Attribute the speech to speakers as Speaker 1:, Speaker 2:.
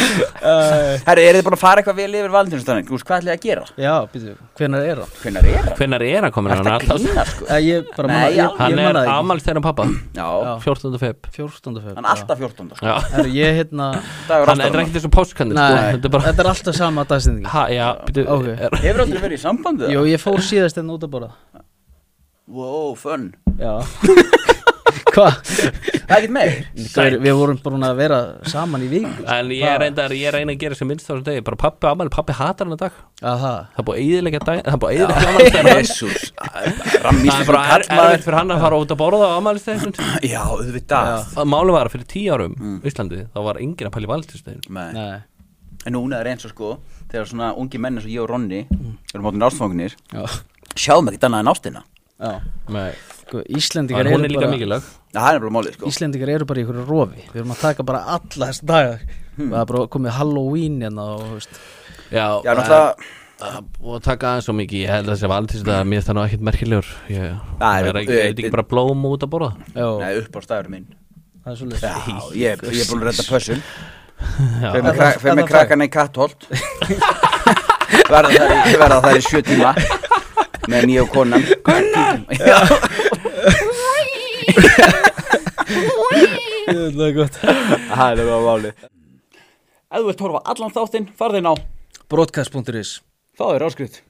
Speaker 1: uh,
Speaker 2: Herru, eru þið búin að fara eitthvað vel yfir valdinstæðan? Hvað ætlið þið að gera?
Speaker 1: Já, býtu, hvernig er það?
Speaker 2: Hvenær er það?
Speaker 3: Hvenær er hann komin
Speaker 2: Er
Speaker 3: hann?
Speaker 2: þetta
Speaker 3: Alltaf-
Speaker 2: grína, sko?
Speaker 1: Eh, Ég bara
Speaker 2: Nei,
Speaker 1: manna, ég,
Speaker 2: já.
Speaker 1: ég
Speaker 3: Hann er
Speaker 1: manna það ekki
Speaker 3: amal þeirra pappa
Speaker 2: Já,
Speaker 1: Já.
Speaker 3: 14. feb
Speaker 1: 14. feb
Speaker 2: hann er alltaf 14. sko.
Speaker 3: Já
Speaker 1: Herru, ég hérna
Speaker 2: Dagur
Speaker 3: Hann er
Speaker 2: aftan.
Speaker 3: ekki þessu páskandir sko
Speaker 1: Nei,
Speaker 3: Þetta er bara
Speaker 1: þetta er alltaf sama dagstendingi
Speaker 3: Ha, já, byrju
Speaker 1: Ok.
Speaker 3: er-
Speaker 2: Hefur aldrei verið í sambandi?
Speaker 1: Jú, ég fór síðast enn út að borða
Speaker 2: Wow, fun.
Speaker 1: Já Hvað?
Speaker 2: Það er ekkert meir.
Speaker 1: Gaur, Við vorum búin að vera saman í viku
Speaker 3: En ég er reyndar, ég er reyna að gera sem minnst á þessum degi Bara pappi amal, pappi hatar hann að dag
Speaker 1: Aha
Speaker 3: Það er búið að eyðileggja dag Það er búið að eyðileggja amalstæðan
Speaker 2: Jésús, rammist
Speaker 3: Það er bara er, erfitt fyrir hann að fara út að borða á amalstæðan
Speaker 2: Já, auðvitað
Speaker 3: Máli var að fyrir tíu árum
Speaker 1: Mm.
Speaker 3: í Íslandi Þá var enginn að pæli valdistæðin
Speaker 2: Nei.
Speaker 1: Nei
Speaker 2: En núna er eins og sko Þegar svona ungi menn eins og ég og Ronni erum áttin ástfangnir
Speaker 1: Já
Speaker 2: sjáum ekki annað en ástina
Speaker 1: Já
Speaker 3: Nei
Speaker 1: Sko, Íslendingar
Speaker 3: Hún
Speaker 1: eru
Speaker 3: er líka
Speaker 1: bara
Speaker 3: mikilvæg
Speaker 2: Það er bara málið sko
Speaker 1: Íslendingar eru bara í ykkur rofi Við erum að taka bara alla þessa daga
Speaker 2: Hmm.
Speaker 1: Það er bara komið Halloween hérna og, þú veist
Speaker 3: Já,
Speaker 2: Já, náttúrulega
Speaker 3: og Ah, taka aðeins svo mikið, ég held að þessi valdist að mér er það nú ekkert merkilegur ég,
Speaker 2: Það er- Eh,
Speaker 3: er, ekki, er þetta ekki bara blóm út að borða
Speaker 1: Já,
Speaker 2: Nei, upp á staður minn
Speaker 1: það er
Speaker 2: Já,
Speaker 1: svolítið
Speaker 2: ég, ég er búin að redda pössun Fyrir
Speaker 3: já,
Speaker 2: með, krak, fyrir með
Speaker 1: Allan
Speaker 2: krakkana í kattholt Verða þær í- verða þær í sjö tíma Með nýja og konan Konan Já,
Speaker 1: Það er gott
Speaker 2: það er bara málið Ef þú vilt horfa allan þáttinn, farðin á
Speaker 1: Broadcast.is
Speaker 2: Þá er áskrift